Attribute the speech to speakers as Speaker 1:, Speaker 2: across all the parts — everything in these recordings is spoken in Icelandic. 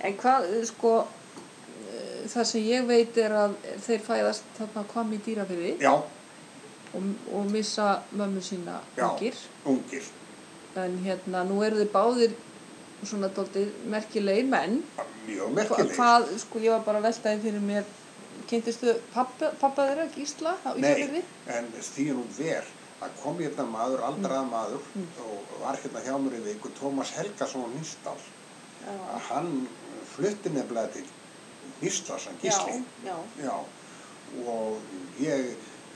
Speaker 1: En hvað, sko, eh, það sem ég veit er að þeir fæðast þarna hvað mér dýra
Speaker 2: já,
Speaker 1: og, og missa mömmu sína
Speaker 2: Já.
Speaker 1: ungir.
Speaker 2: ungir,
Speaker 1: En hérna, nú eru þið báðir svona dóttir merkilegir menn.
Speaker 2: bara mjög
Speaker 1: Hva-
Speaker 2: merkilegir.
Speaker 1: Hvað, sko, ég var bara að veltaði fyrir mér, kynntistu pappa, pappa þeirra, Gísla, á Ísafjörði?
Speaker 2: Nei, en því nú ver að kom hérna maður, aldraða
Speaker 1: Mm.
Speaker 2: maður og var hérna hjá mér í viku Tómas Helgason á Nýstall að hann flutti nefnilega til Nýstalls, hann gísli
Speaker 1: Já, já,
Speaker 2: Já, og ég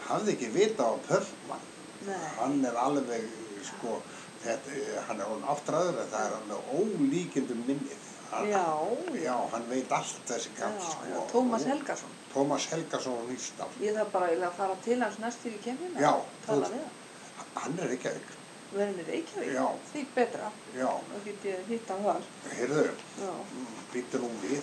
Speaker 2: hafði ekki vita á Pörfmann
Speaker 1: nei.
Speaker 2: hann er alveg sko, þetta, hann er hún áttræður en það er hann með ólíkindum minnið hann,
Speaker 1: Já.
Speaker 2: já, hann veit allt þessi
Speaker 1: Já,
Speaker 2: kall
Speaker 1: já,
Speaker 2: sko,
Speaker 1: Tómas Helgason.
Speaker 2: Tómas Helgason á Nýstall
Speaker 1: Ég þarf bara eiginlega að fara til hans næst fyrir kemina.
Speaker 2: Já,
Speaker 1: hérna, Tala
Speaker 2: þú-
Speaker 1: við hann.
Speaker 2: hann er ekki auk
Speaker 1: Verðin í Reykjavík.
Speaker 2: Já.
Speaker 1: Því betra.
Speaker 2: já,
Speaker 1: Þá get ég hitt hann þar.
Speaker 2: heyrðu
Speaker 1: Já.
Speaker 2: býttu nú við,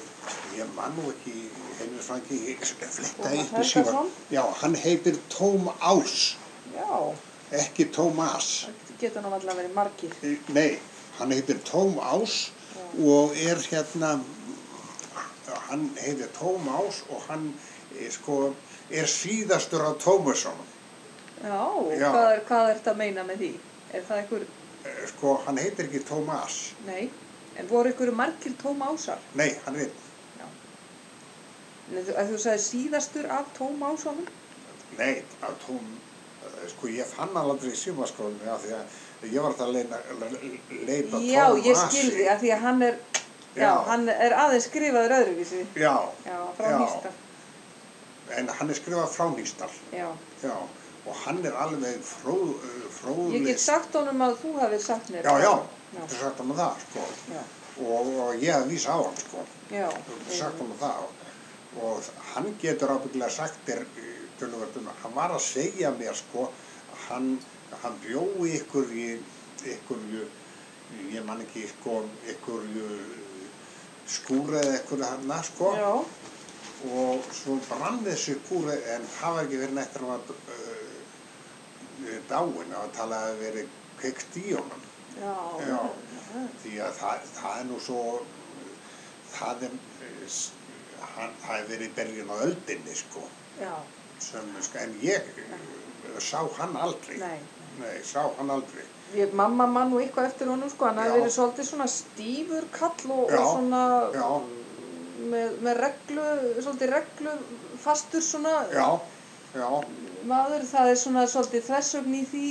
Speaker 2: ég man nú ekki Heimir Franki, ég fletta
Speaker 1: Tómas
Speaker 2: upp í síðan.
Speaker 1: Helgason?
Speaker 2: Já, hann heitir Tóm Ás,
Speaker 1: Já.
Speaker 2: ekki Tómas.
Speaker 1: Það getur nú alltaf verið margir.
Speaker 2: Nei, hann heitir Tóm Ás
Speaker 1: Já.
Speaker 2: og er hérna, hann heitir Tóm Ás og hann eh, sko er síðastur á Tómasson.
Speaker 1: Já.
Speaker 2: Já.
Speaker 1: Hvað er, hvað er þetta að meina með því? Er það einhver,
Speaker 2: Eh, Sko, hann heitir ekki Tómas.
Speaker 1: nei. En voru einhverju margir tómásar?
Speaker 2: Nei, hann heitir,
Speaker 1: En þú, að þú sagði síðastur af tómásunum?
Speaker 2: nei, á Tóm, eh, sko ég fann hann aldrei í símaskólinu af því að ég var það að leina, leita
Speaker 1: Já,
Speaker 2: Tómasi.
Speaker 1: ég skilði að því að hann er, já,
Speaker 2: Já.
Speaker 1: hann er aðeins skrifaður öðruvísi.
Speaker 2: Já,
Speaker 1: Já, frá
Speaker 2: Já.
Speaker 1: nýsta.
Speaker 2: en hann er skrifað frá Nýstall,
Speaker 1: Já.
Speaker 2: já, og hann er alveg fróð, fróðlist.
Speaker 1: Ég get sagt honum að þú hafið sagt mér.
Speaker 2: Já, já,
Speaker 1: Já.
Speaker 2: þetta er sagt hann um það, sko,
Speaker 1: Já.
Speaker 2: og, og ég hef vísa á hann, sko,
Speaker 1: Já.
Speaker 2: þetta er sagt hann um það, og hann getur ábyggilega sagt þér, tölvöldum, hann var að segja mér, sko, hann, hann bjói ykkur í, ykkur, í- ég man ekki, sko, ykkur, í- skúra eða ykkur hann, sko,
Speaker 1: Já,
Speaker 2: og svo brann þessi kúri en það var ekki verið neitt hann var uh, dáin að tala að veri kveikt í honum
Speaker 1: já.
Speaker 2: Já. því að það, það er nú svo það er eh, s- hann, það er verið í bergin á öldinni sko,
Speaker 1: Já,
Speaker 2: sem, sko en ég eh, sá hann aldrei
Speaker 1: nei.
Speaker 2: Nei, sá hann aldrei
Speaker 1: Ég, mamma mann og eitthvað eftir honum sko, hann
Speaker 2: Já.
Speaker 1: hafði verið svolítið svona stífur kall og,
Speaker 2: Já,
Speaker 1: og svona
Speaker 2: já,
Speaker 1: með, með reglu, svolítið reglu fastur svona
Speaker 2: já, já
Speaker 1: maður, það er svona svolítið þversögn í því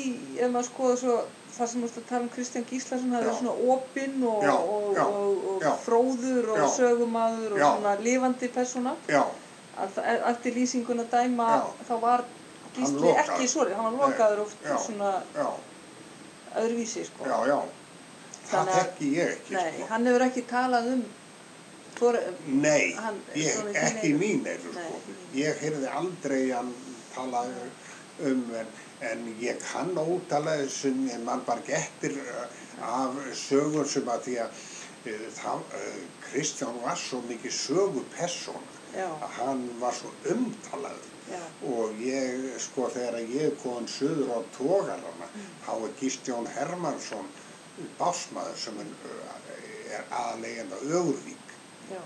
Speaker 1: ef maður skoða svo það sem múst að tala um Kristján Gíslason það
Speaker 2: Já.
Speaker 1: er svona opinn og,
Speaker 2: Já,
Speaker 1: og,
Speaker 2: já,
Speaker 1: og, og
Speaker 2: já.
Speaker 1: fróður og
Speaker 2: Já.
Speaker 1: sögumadur og
Speaker 2: Já.
Speaker 1: svona lifandi persóna
Speaker 2: já,
Speaker 1: að það- e- eftir lýsinguna dæma
Speaker 2: Já.
Speaker 1: þá var Gísli
Speaker 2: lokaður.
Speaker 1: ekki svo, hann var
Speaker 2: Nei.
Speaker 1: lokaður oft
Speaker 2: Já.
Speaker 1: svona
Speaker 2: já,
Speaker 1: öðruvísi sko.
Speaker 2: já, já það
Speaker 1: Þannig að-
Speaker 2: þekki ég ekki
Speaker 1: Nei,
Speaker 2: sko.
Speaker 1: hann hefur ekki talað um fór,
Speaker 2: Nei,
Speaker 1: Hann-
Speaker 2: ég,
Speaker 1: svona í þín
Speaker 2: ekki
Speaker 1: eyru?
Speaker 2: mín eirur
Speaker 1: Nei.
Speaker 2: sko. Ég heyrði aldrei hann tala um en, en ég kann ótala sem mann bara gettir uh, af sögur sem að því að uh, það, uh, Kristján var svo mikið sögupersón
Speaker 1: já,
Speaker 2: að hann var svo umtalaður
Speaker 1: já,
Speaker 2: og ég sko þegar ég er komin söður á tógarana þá er Gístjón Hermansson básmaður sem er, uh, er aðalegenda Ögurvík
Speaker 1: já,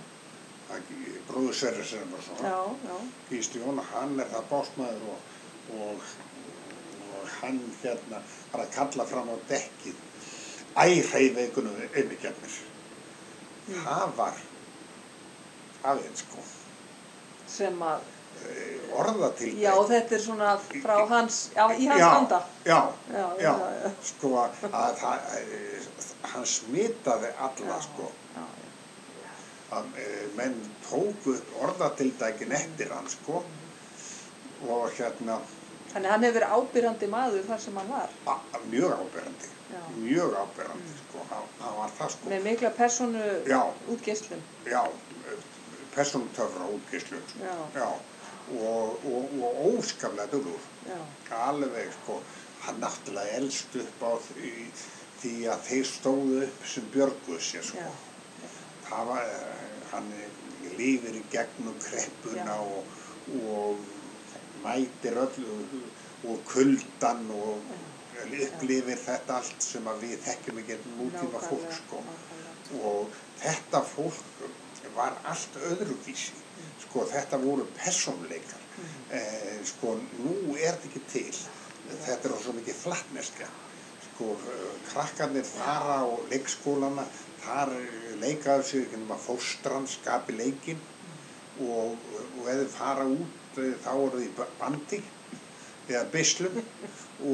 Speaker 2: bróður Sverri Sverjarsson
Speaker 1: já, já,
Speaker 2: Gísljón, hann er það básmaður og, og, og hann hérna var að kalla fram á dekkið æreifeikunum auðvitað
Speaker 1: Mm.
Speaker 2: það var aðeins sko
Speaker 1: sem að,
Speaker 2: eh, orðatiltæki
Speaker 1: já, þetta er svona frá hans, já, í hans
Speaker 2: Já,
Speaker 1: anda.
Speaker 2: já,
Speaker 1: Já,
Speaker 2: já,
Speaker 1: já, já.
Speaker 2: sko að það, eh, hann smitaði alla
Speaker 1: Já.
Speaker 2: sko
Speaker 1: Já,
Speaker 2: að eh, menn tóku upp orðatildækin eftir hann sko og hérna
Speaker 1: Þannig að hann hefur verið ábyrjandi maður þar sem hann var,
Speaker 2: a- a- mjög áberandi
Speaker 1: Já.
Speaker 2: mjög áberandi sko hann, hann var það sko
Speaker 1: með mikla personu
Speaker 2: Já.
Speaker 1: útgeislum.
Speaker 2: já, persóntöfra útgíslu sko.
Speaker 1: Já.
Speaker 2: og, og, og óskaplega dugur
Speaker 1: Já,
Speaker 2: alveg sko hann náttúrulega elst upp á því, því að þeir stóðu upp sem björguð sér sko
Speaker 1: já,
Speaker 2: það var, eh, hann lífir í gegnum kreppuna
Speaker 1: Já.
Speaker 2: og, og mætir öllu og kuldan og upplifir þetta allt sem að við þekkjum ekki nútíma fólk sko
Speaker 1: nákvæmlega.
Speaker 2: og þetta fólk var allt öðruvísi sko þetta voru persónleikar
Speaker 1: Mm.
Speaker 2: eh, sko nú er þetta ekki til þetta er svo mikið flattneskja sko eh, krakkarnir fara á leikskólana þar eh, leika þau sig ekki nema fóstran skapi leikin og, og ef þau fara út eh, þá eru þau í ba- bandi eða byslum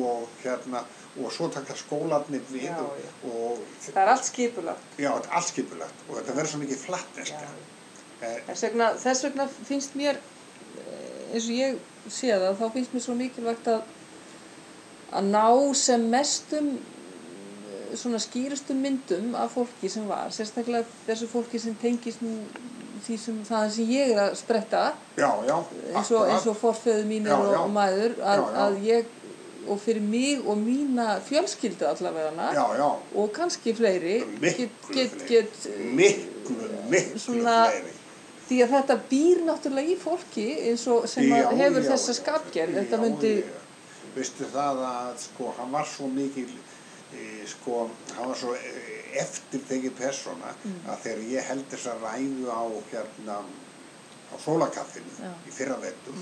Speaker 2: og hérna og svo taka skólarnir við
Speaker 1: Já,
Speaker 2: og,
Speaker 1: já.
Speaker 2: og
Speaker 1: Það er allt skipulagt.
Speaker 2: Já, þetta er allskipulagt og þetta verður svo mikið flattneska.
Speaker 1: Já.
Speaker 2: Eh,
Speaker 1: Þess vegna, þess vegna finnst mér, eh, eins og ég sé það, þá finnst mér svo mikilvægt að, að ná sem mestum eh, svona skýrustum myndum af fólki sem var, sérstaklega þessu fólki sem tengist nú því sem það sem ég er að spretta,
Speaker 2: já, já.
Speaker 1: eins og, eins og forfeðu mínir
Speaker 2: Já,
Speaker 1: og,
Speaker 2: já.
Speaker 1: og maður, að,
Speaker 2: Já, já.
Speaker 1: að ég, og fyrir mig og mína fjölskyldu allavega hana,
Speaker 2: Já, já.
Speaker 1: og kannski fleiri,
Speaker 2: Miklu
Speaker 1: get,
Speaker 2: fleiri.
Speaker 1: get, eh,
Speaker 2: Miklu, miklu
Speaker 1: svona-
Speaker 2: fleiri.
Speaker 1: Því að þetta býr náttúrulega í fólki eins og sem já,
Speaker 2: Já,
Speaker 1: hefur
Speaker 2: já,
Speaker 1: þessa
Speaker 2: já.
Speaker 1: skapgerð. Þetta
Speaker 2: Já,
Speaker 1: myndi,
Speaker 2: já. Veistu það að sko, hann var svo mikil, e, sko, hann var svo e, eftirtekið persóna
Speaker 1: Mm.
Speaker 2: að þegar ég held þessa ræðu á hérna, á sólakaffinu
Speaker 1: Já. Mm.
Speaker 2: í fyrra vettur,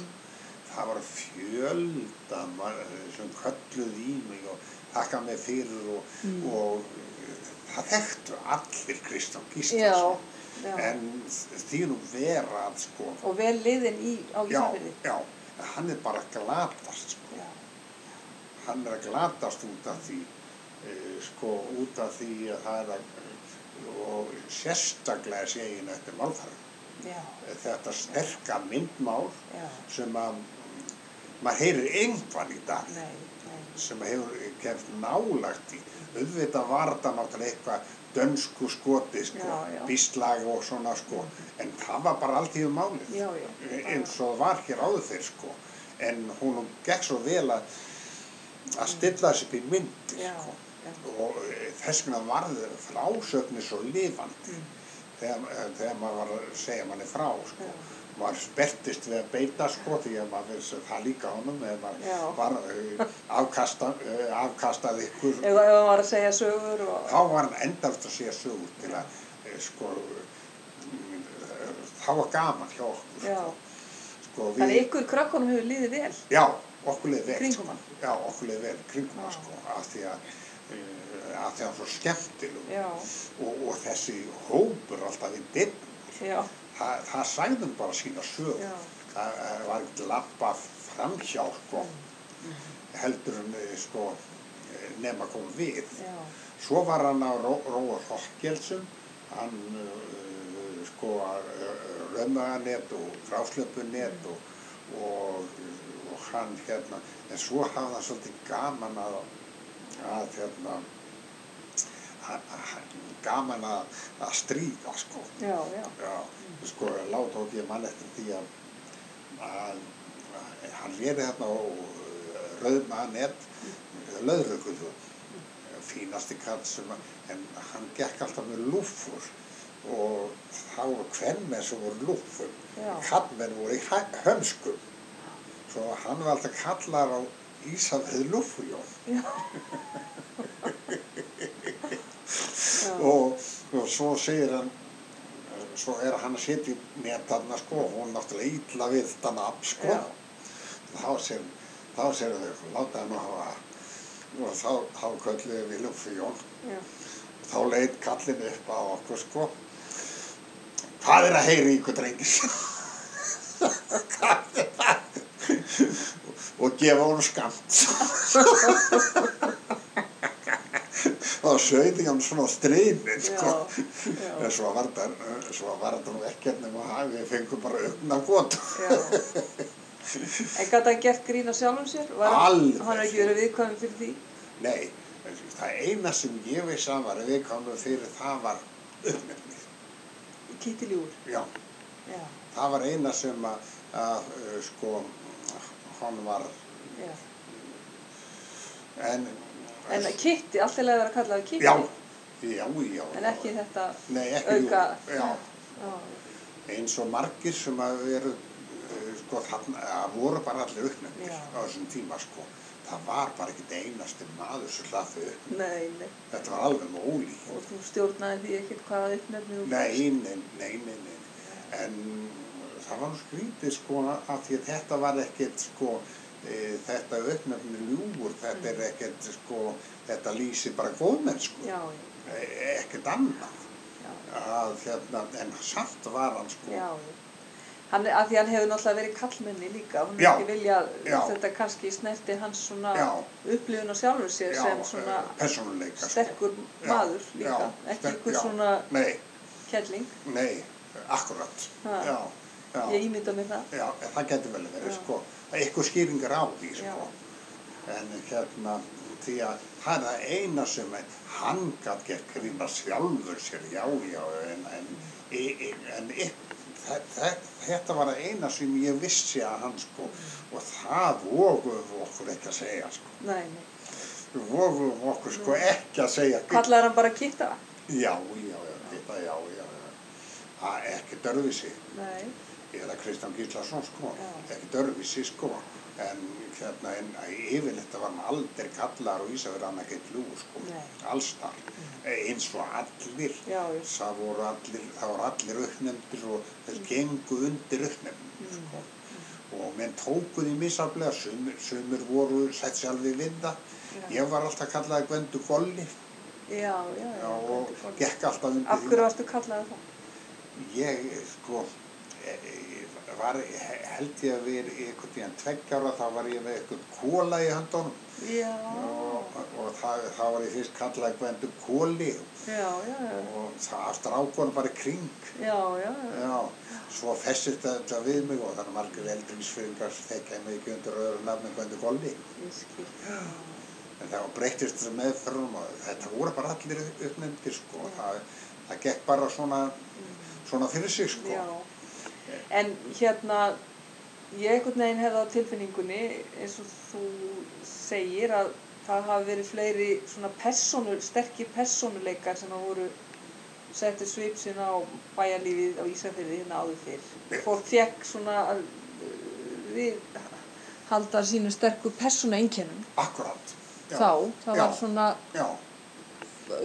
Speaker 2: það var fjölda ma- sem kölluð í mig og þakka mig fyrir og,
Speaker 1: Mm.
Speaker 2: og e, það þekktu allir Kristján Gíslason.
Speaker 1: Já, já.
Speaker 2: En því nú vera að sko,
Speaker 1: og vel liðin í, á
Speaker 2: já,
Speaker 1: Ísafjörði.
Speaker 2: já, en hann er bara að glatast sko.
Speaker 1: Já.
Speaker 2: hann er að glatast út af því uh, sko út af því að það er að og sérstaklega sé ég þetta málfæri
Speaker 1: Já,
Speaker 2: Eh, þetta sterka myndmál
Speaker 1: já,
Speaker 2: sem að mm, maður heyrir einhvern í dag
Speaker 1: nei, nei,
Speaker 2: sem hefur kemst nálagt í auðvitað var þetta náttúrulega eitthvað dönsku skoti sko,
Speaker 1: Já, já.
Speaker 2: bíslag og svona sko en það var bara allt í um málið
Speaker 1: Já, já.
Speaker 2: eins og það var hér áður fyrr sko en hún gekk svo vel að að stilla þessi upp í myndi
Speaker 1: já,
Speaker 2: sko
Speaker 1: já,
Speaker 2: og eh, þess vegna varð frásögnir svo lifandi
Speaker 1: Mm.
Speaker 2: þegar, eh, þegar maður var að segja manni frá sko.
Speaker 1: Já.
Speaker 2: maður spertist við að beita sko því að maður vissi það líka honum eða
Speaker 1: Já.
Speaker 2: maður var eh, afkasta, eh, afkastað ykkur
Speaker 1: Ef ef hann var að segja sögur og,
Speaker 2: þá var hann endast að segja sögur til að eh, sko mm, eh, þá var gaman hjá okkur
Speaker 1: já.
Speaker 2: sko,
Speaker 1: Þannig að ykkur krökkunum hefur liðið vel.
Speaker 2: Já, okkur leið vel.
Speaker 1: Kringum hann.
Speaker 2: Já, okkur leið vel, kringum hann
Speaker 1: Já.
Speaker 2: sko, af því að, uh, af því að hann svo skemmtileg
Speaker 1: Já,
Speaker 2: og, og þessi hópur alltaf í dimm,
Speaker 1: já,
Speaker 2: það, það sagðum bara sína sög.
Speaker 1: Já.
Speaker 2: Það eh, var ekkert lappa framhjá sko, heldur en eh, sko, eh, nema kom við.
Speaker 1: já,
Speaker 2: Svo var hann á Ró, Róa Þokkelsum, hann uh, sko römmaðanett og fráslöpunett og, og, og hann hérna, en svo hafði hann svolítið gaman að, að hérna, að, að, gaman að, að stríða sko.
Speaker 1: já, já.
Speaker 2: Já, sko, láta og ég mann eftir því að, að, að hann verið hérna á eh, Rauðmanett, Löðrökuðu, fínasti kall sem að, en hann gekk alltaf með lúfur og þá voru kvenmenn sem voru lúfur,
Speaker 1: Já.
Speaker 2: kallmenn voru í hæ- hömskum, svo hann var alltaf kallar á Ísafrið lúfujón.
Speaker 1: já.
Speaker 2: og, og svo segir hann svo er hann að setja með þarna sko og hún náttúrulega ítla við þetta nafn sko
Speaker 1: Já.
Speaker 2: þá sér þá sér þau láta hann að hafa og þá, þá kölluðu við Luffy Jón
Speaker 1: já.
Speaker 2: þá leit kallin upp á okkur sko hvað er að heyra í ykkur drengis hvað er það og gefa honum skamt og sögði hann svona á streymin sko
Speaker 1: Já, já.
Speaker 2: En svo var þetta, svo var þetta nú ekkert nema að við fengum bara augna gott.
Speaker 1: Já. En gæti hann gert grín á sjálfum sér? Var hann-
Speaker 2: Alveg.
Speaker 1: Hann hefur ekki verið viðkvæðum fyrir því?
Speaker 2: Nei, það eina sem ég veist að var við komum fyrir það var uppnefnið.
Speaker 1: Kittiljúr,
Speaker 2: Já,
Speaker 1: já,
Speaker 2: það var eina sem að, að eh, sko, hann var,
Speaker 1: já.
Speaker 2: en,
Speaker 1: En kitti, allt er leið að vera kallað kitti,
Speaker 2: já, já, já.
Speaker 1: en ekki þetta
Speaker 2: Nei, ekki
Speaker 1: auka.
Speaker 2: Jú, já.
Speaker 1: Já,
Speaker 2: eins og margir sem að veru eh, sko, þarna, að voru bara allir uppnefnir
Speaker 1: Já.
Speaker 2: á þessum tíma sko. það var bara ekkert einasti maður sem hlaði upp,
Speaker 1: nei, nei,
Speaker 2: þetta var alveg með ólík
Speaker 1: og þú stjórnaði því ekkert hvaða uppnefni þú
Speaker 2: nei, nei, nei, nei, nei. en það var nú skrítið sko að því að þetta var ekkert sko e, þetta uppnefni ljúfur þetta er ekkert sko þetta lýsi bara góðmennsku
Speaker 1: Mm. já,
Speaker 2: e, ekkert annað
Speaker 1: já,
Speaker 2: að, hérna, en samt var hann sko
Speaker 1: já. Hann, að því hann hefur náttúrulega verið kallmenni líka, hann
Speaker 2: Já.
Speaker 1: hefur ekki viljað
Speaker 2: Já.
Speaker 1: þetta kannski snerti hans svona
Speaker 2: Já.
Speaker 1: upplifun á sjálfur sér
Speaker 2: já,
Speaker 1: sem svona
Speaker 2: eh, persónuleika sko.
Speaker 1: sterkur
Speaker 2: Já,
Speaker 1: maður líka,
Speaker 2: já,
Speaker 1: ekki
Speaker 2: sterk-
Speaker 1: einhver
Speaker 2: já.
Speaker 1: svona
Speaker 2: nei,
Speaker 1: kelling,
Speaker 2: nei, akkurat
Speaker 1: Ha.
Speaker 2: já, já
Speaker 1: ég ímynda mér það.
Speaker 2: Já, það getur vel verið,
Speaker 1: Já.
Speaker 2: sko. Það er eitthvað skýringar á því,
Speaker 1: Já.
Speaker 2: sko. En hérna, því að það er það eina sem er, hann gætt gert gríma sjálfur sér, já, já, en, en, e, e, en e, þe, þe, þetta var það eina sem ég vissi að hann, sko, og það voguðum okkur ekki að segja, sko.
Speaker 1: Nei, nei.
Speaker 2: Við voguðum okkur, sko, ekki að segja.
Speaker 1: Kallar hann bara kitta?
Speaker 2: Já, já, já, þetta, já, já, já. Það er ekki dörfið sig.
Speaker 1: Nei,
Speaker 2: eða Kristján Gíslason sko,
Speaker 1: Já.
Speaker 2: ekki dörfissi sko, en hérna, en yfirleitt var hann aldrei kallar og Ísafjörð hann ekki lúgu sko,
Speaker 1: Nei. Mm.
Speaker 2: alls þar, eins og allir,
Speaker 1: já,
Speaker 2: það voru allir, það voru allir uppnefndir og þeir
Speaker 1: Mm.
Speaker 2: gengu undir uppnefndir sko, og menn tóku því misaflega, sumir, sumir voru sett sér alveg við það,
Speaker 1: já,
Speaker 2: ég var alltaf kallaði Gvendu Golli
Speaker 1: já, já, já.
Speaker 2: og
Speaker 1: Gvendur Kolbeinn.
Speaker 2: gekk alltaf undir
Speaker 1: Af
Speaker 2: því
Speaker 1: hverju varstu kallaði það?
Speaker 2: Ég, sko, eh, eh, var, he- held ég að vera einhvern tíðan tveggjára, þá var ég með einhvern kóla í höndunum
Speaker 1: Já,
Speaker 2: og, og það, þá var ég fyrst kallað Gvendur kóli
Speaker 1: já, já, já,
Speaker 2: og það aftur ákvörðum bara í kring.
Speaker 1: já, já, já,
Speaker 2: Já, svo festist þetta við mig og þannig margir eldringsfyrringar þekkja mig ekki undir öðru nafni Gvendur kóli.
Speaker 1: ég skil.
Speaker 2: En það breyttist þetta meðferðum og þetta voru bara allir uppnefndir, sko. Það, það gekk bara svona, svona fyrir sig, sko.
Speaker 1: Já, en hérna, ég einhvern veginn hefði á tilfinningunni, eins og þú segir, að það hafi verið fleiri svona persónu, sterkir persónuleikar sem að voru settu svip sinn á bæjarlífið á Ísafirði hérna áður fyrr. Fólk fekk svona að uh, við halda sínu sterku persónu einkennum
Speaker 2: Akkurát. Já.
Speaker 1: þá. Það
Speaker 2: Já.
Speaker 1: var svona
Speaker 2: Já,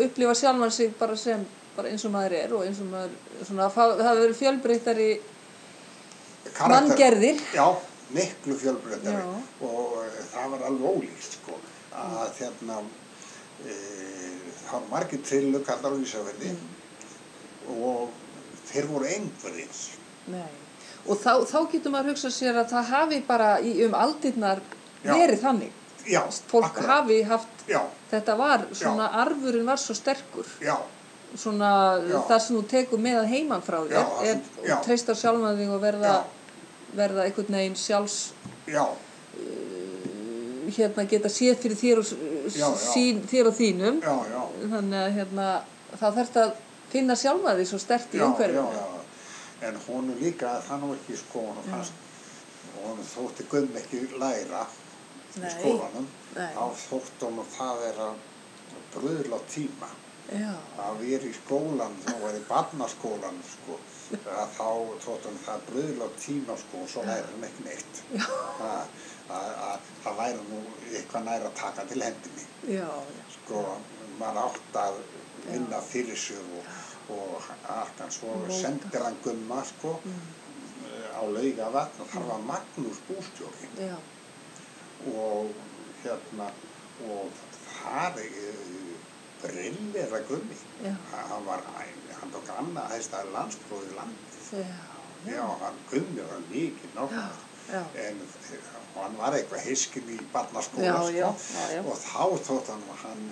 Speaker 1: upplifa sjálfan sig bara sem bara eins og maður er og eins og maður svona, það það hafi verið fjölbreyttari
Speaker 2: karakter-
Speaker 1: manngerðir
Speaker 2: Já, miklu fjölbreytari
Speaker 1: Já.
Speaker 2: og eh, það var alveg ólíkt sko að þérna e, það var margir trillu kallar á Ísafjörði
Speaker 1: Mm.
Speaker 2: og þeir voru einhverjins
Speaker 1: Nei. og þá, þá getur maður hugsað sér að það hafi bara í, um aldirnar
Speaker 2: Já.
Speaker 1: verið þannig
Speaker 2: Já,
Speaker 1: fólk
Speaker 2: akkurat.
Speaker 1: hafi haft
Speaker 2: Já,
Speaker 1: þetta var svona arfurinn var svo sterkur
Speaker 2: já,
Speaker 1: svona
Speaker 2: Já.
Speaker 1: það sem þú tekur með að heiman frá þér
Speaker 2: Já,
Speaker 1: er,
Speaker 2: þú- já.
Speaker 1: og treystar sjálfan þig og verða,
Speaker 2: Já.
Speaker 1: verða einhvern veginn sjálfs
Speaker 2: já,
Speaker 1: hérna geta séð fyrir þér og,
Speaker 2: Já, já.
Speaker 1: Sín, þér og þínum
Speaker 2: já, já
Speaker 1: þannig að hérna, það þarf að finna sjálfa því svo stert í
Speaker 2: já, já,
Speaker 1: umhverfinu
Speaker 2: já. En honum líka, það nú ekki sko honum fannst honum þótti gumm ekki læra í
Speaker 1: Nei.
Speaker 2: skólanum
Speaker 1: Nei.
Speaker 2: þá þótti honum það vera bröðla tíma
Speaker 1: já,
Speaker 2: að vera í skólan þá var í barnaskólan sko að þá þóttum það bröðla tíma sko og svo læri hann ekki neitt að það væri nú eitthvað næra að taka til hendinni
Speaker 1: já, já.
Speaker 2: sko maður átt að vinna fyrir sér og, og allt hann svo
Speaker 1: Móta.
Speaker 2: sendir hann gumma sko
Speaker 1: Mm.
Speaker 2: á lauga vatn og þar var Magnús bústjóri
Speaker 1: Já,
Speaker 2: og hérna og það brillir að gummi
Speaker 1: Já.
Speaker 2: Ha- hann var hann tók annað hæstaði landsbróði land
Speaker 1: já,
Speaker 2: já, hann gummi var mikið náttúrulega
Speaker 1: já,
Speaker 2: en og hann var eitthvað heiskin í barnaskóla
Speaker 1: Já,
Speaker 2: sko,
Speaker 1: já, já, já.
Speaker 2: og þá þótt hann að hann,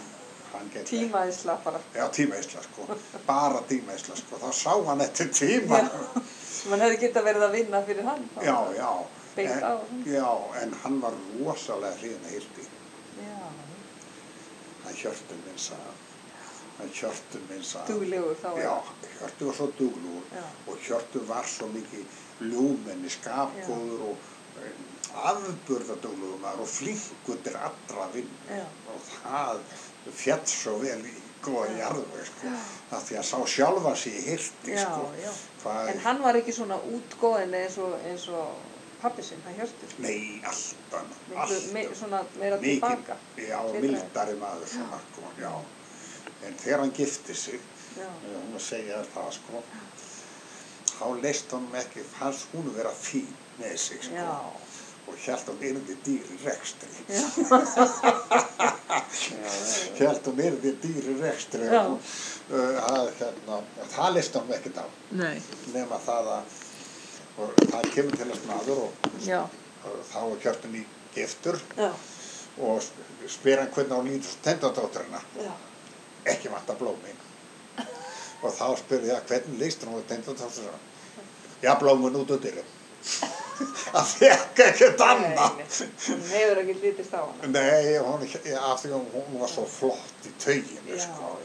Speaker 2: hann geti
Speaker 1: tímaðisla bara
Speaker 2: já, tímaisla sko, bara tímaisla sko, þá sá hann eftir tíma
Speaker 1: Já. mann hefði geta verið að vinna fyrir hann þá.
Speaker 2: já, já
Speaker 1: Beint á
Speaker 2: en,
Speaker 1: hann.
Speaker 2: já, en hann var rosalega hrýðin að hildi
Speaker 1: já.
Speaker 2: hann hjörtum eins að hann hjörtum eins að
Speaker 1: duglegur þá
Speaker 2: já, hjörtum var svo duglugur
Speaker 1: Já.
Speaker 2: og hjörtum var svo mikið ljúmenni, skapgóður og afburðaduglugur maður og flinkur til allra vinnu
Speaker 1: já,
Speaker 2: og það fjall svo vel í góða jarðveg sko, að því að sá sjálfa sig í hirti
Speaker 1: já,
Speaker 2: sko,
Speaker 1: já.
Speaker 2: hvað
Speaker 1: en hann var ekki svona útgóðin eins og, eins og pappi sinn, hann hjörtur
Speaker 2: nei, allt annað,
Speaker 1: Miklu,
Speaker 2: allt
Speaker 1: me,
Speaker 2: annað.
Speaker 1: svona meira
Speaker 2: Mikið-
Speaker 1: tilbaka
Speaker 2: já,
Speaker 1: Fyrra.
Speaker 2: mildari maður svona, sko, já en þegar hann gifti sig
Speaker 1: já,
Speaker 2: hún að segja þér það sko þá þá leist honum ekki, fannst hún vera fín með sig sko
Speaker 1: já,
Speaker 2: og held hún yrði dýr í rekstri
Speaker 1: já,
Speaker 2: held hún yrði dýr í rekstri
Speaker 1: Já.
Speaker 2: og uh, það, hérna, það leist honum ekkert á
Speaker 1: nei,
Speaker 2: nema það að og það kemur til þess maður og,
Speaker 1: já,
Speaker 2: og þá er kjörtin í giftur
Speaker 1: já,
Speaker 2: og sp- spyr hann hvernig hún lítur tendadótturina
Speaker 1: já,
Speaker 2: ekki vanta blómin og þá spurði ég að hvernig leist hún á þetta og þá sagði hann já blómin út undir að fekk ekkert annað
Speaker 3: Hún hefur ekki litist á hana.
Speaker 2: nei, hún, af því hún, hún var svo flott í tauginu
Speaker 3: Já,
Speaker 2: sko.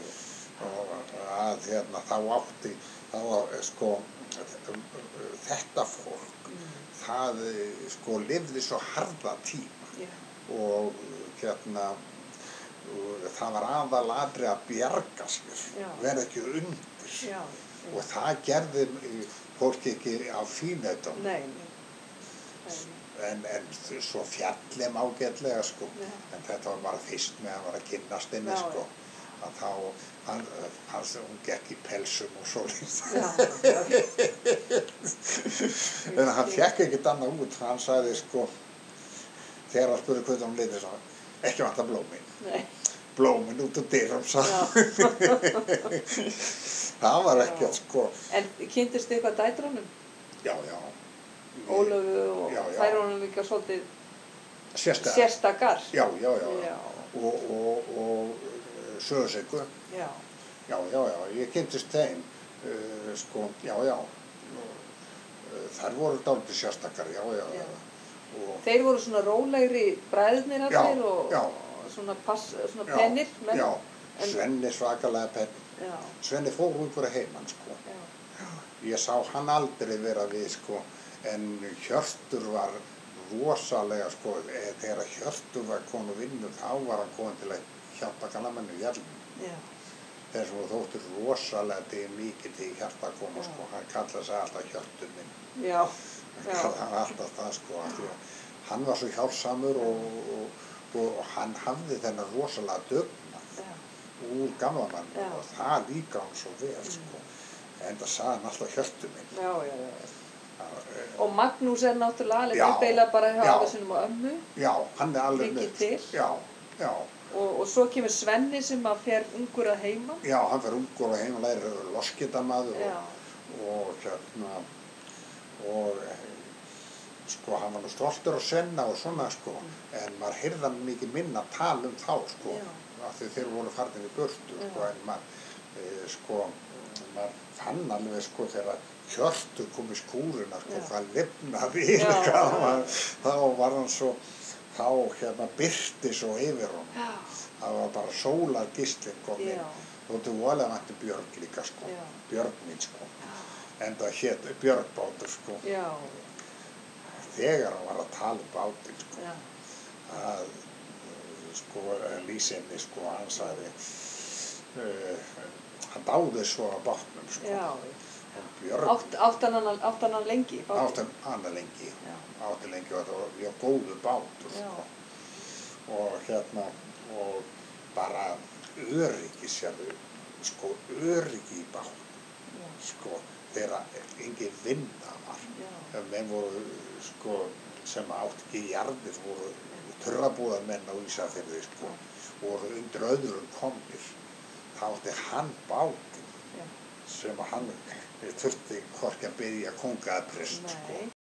Speaker 2: og að hérna þá átti þá var, sko þetta fólk
Speaker 3: Mm.
Speaker 2: það eh, sko lifði svo harða tíma
Speaker 3: já,
Speaker 2: og hérna og það var aðalatri að bjarga
Speaker 3: Já.
Speaker 2: sér verða ekki undir
Speaker 3: já.
Speaker 2: og það gerði eh, fólk ekki á fínöðum
Speaker 3: Nei, nei. nei.
Speaker 2: en, en svo fjallum ágætlega sko
Speaker 3: Já.
Speaker 2: en þetta var bara fyrst með að var að kynnast þeim
Speaker 3: Já,
Speaker 2: sko að þá hann, hann, hún gekk í pelsum og svo
Speaker 3: Já,
Speaker 2: en hann fekk ekkert annað út hann sagði sko þegar hann spurði hvernig hún litið svo ekki vant að blómin
Speaker 3: nei.
Speaker 2: blómin út úr dyrum
Speaker 3: Já.
Speaker 2: sagði það var ekki
Speaker 3: Já.
Speaker 2: sko
Speaker 3: En kynntist þið eitthvað dætrunum?
Speaker 2: já, já
Speaker 3: Ólöfu og
Speaker 2: Já, já.
Speaker 3: þær honum ekki að svolítið
Speaker 2: sérstakar
Speaker 3: sérstakar?
Speaker 2: já, já, já,
Speaker 3: Já.
Speaker 2: og, og, og sögursyngu
Speaker 3: Já,
Speaker 2: já, já, já, ég kynntist þeim uh, sko, já, já uh, þær voru dálítið sérstakar já, já, já,
Speaker 3: Já.
Speaker 2: og
Speaker 3: Þeir voru svona rólegri bræðnir
Speaker 2: Já,
Speaker 3: allir og
Speaker 2: já.
Speaker 3: og svona, pass, svona
Speaker 2: já,
Speaker 3: pennir menn.
Speaker 2: já,
Speaker 3: en-
Speaker 2: Svenni svakalega penn
Speaker 3: já,
Speaker 2: Svenni fór út fyrir heimann sko
Speaker 3: já,
Speaker 2: Ég sá hann aldrei vera við sko, en Hjörtur var rosalega sko, eh, þegar Hjörtur var konu vinnu þá var hann komin til að hjálpa kannamennu hjálpum.
Speaker 3: já,
Speaker 2: Þess að þóttir rosalega til mikið til hjarta að koma sko, hann kallaði sig alltaf Hjörtur minn,
Speaker 3: já,
Speaker 2: hann
Speaker 3: já,
Speaker 2: kallaði hann alltaf það sko, af því að hann var svo hjálpsamur og, og, og, hann hafði þennan rosalega dögnað
Speaker 3: já,
Speaker 2: úr gamla mann
Speaker 3: Já. Mm.
Speaker 2: og það líka hann svo vel sko, en það sagði hann alltaf Hjörtur minn.
Speaker 3: já, já, já.
Speaker 2: Það, eh,
Speaker 3: Og Magnús er náttúrulega alveg
Speaker 2: Já,
Speaker 3: uppeila bara hjá
Speaker 2: já.
Speaker 3: afa sinum og ömmu
Speaker 2: Já, hann er alveg
Speaker 3: Mikið til.
Speaker 2: Já, já,
Speaker 3: og, og svo kemur Svenni sem að fer ungur að heima.
Speaker 2: já, hann fyrir ungur og heim og læri loskitamaður
Speaker 3: Já,
Speaker 2: og, og hérna og eh, sko, hann var nú stoltur og senna og svona sko,
Speaker 3: Mm.
Speaker 2: en maður heyrði hann mikið minna tal um þá sko,
Speaker 3: Já.
Speaker 2: af því þeir voru farnir í burtu sko,
Speaker 3: Já.
Speaker 2: en maður e, sko, maður fann alveg sko þegar hjörtu kom í skúruna sko,
Speaker 3: Já.
Speaker 2: það lifnaði
Speaker 3: Já,
Speaker 2: yfir hvað
Speaker 3: já.
Speaker 2: maður- þá var hann svo þá hérna byrti svo yfir honum
Speaker 3: já,
Speaker 2: það var bara sólar gistlinn komin
Speaker 3: Já.
Speaker 2: þóttu voðalega mætti Björg líka sko
Speaker 3: Já.
Speaker 2: Björg mín sko en það hétt Björg bátur sko
Speaker 3: já,
Speaker 2: þegar hann var að tala um bátinn sko
Speaker 3: já,
Speaker 2: að uh, sko lýsinni sko hann sagði uh, hann dáði svo á bátnum sko
Speaker 3: já.
Speaker 2: og Björg
Speaker 3: Átt, áttan, hann, áttan hann lengi? í bátinn?
Speaker 2: átti hana lengi
Speaker 3: Já.
Speaker 2: átti lengi og það var já, góðu bátur
Speaker 3: Já.
Speaker 2: sko og hérna og bara öryggi sérðu sko öryggi í bát
Speaker 3: Já.
Speaker 2: sko þegar engin vinna var
Speaker 3: Já.
Speaker 2: ef menn voru sko sem átt ekki jarðir voru törlabúðamenn á Ísafirði sko voru undir öðrum komnir þá átti hann bátinn
Speaker 3: Já.
Speaker 2: sem að hann þurfti hvorki að byrja kongaðprest sko
Speaker 3: Nei,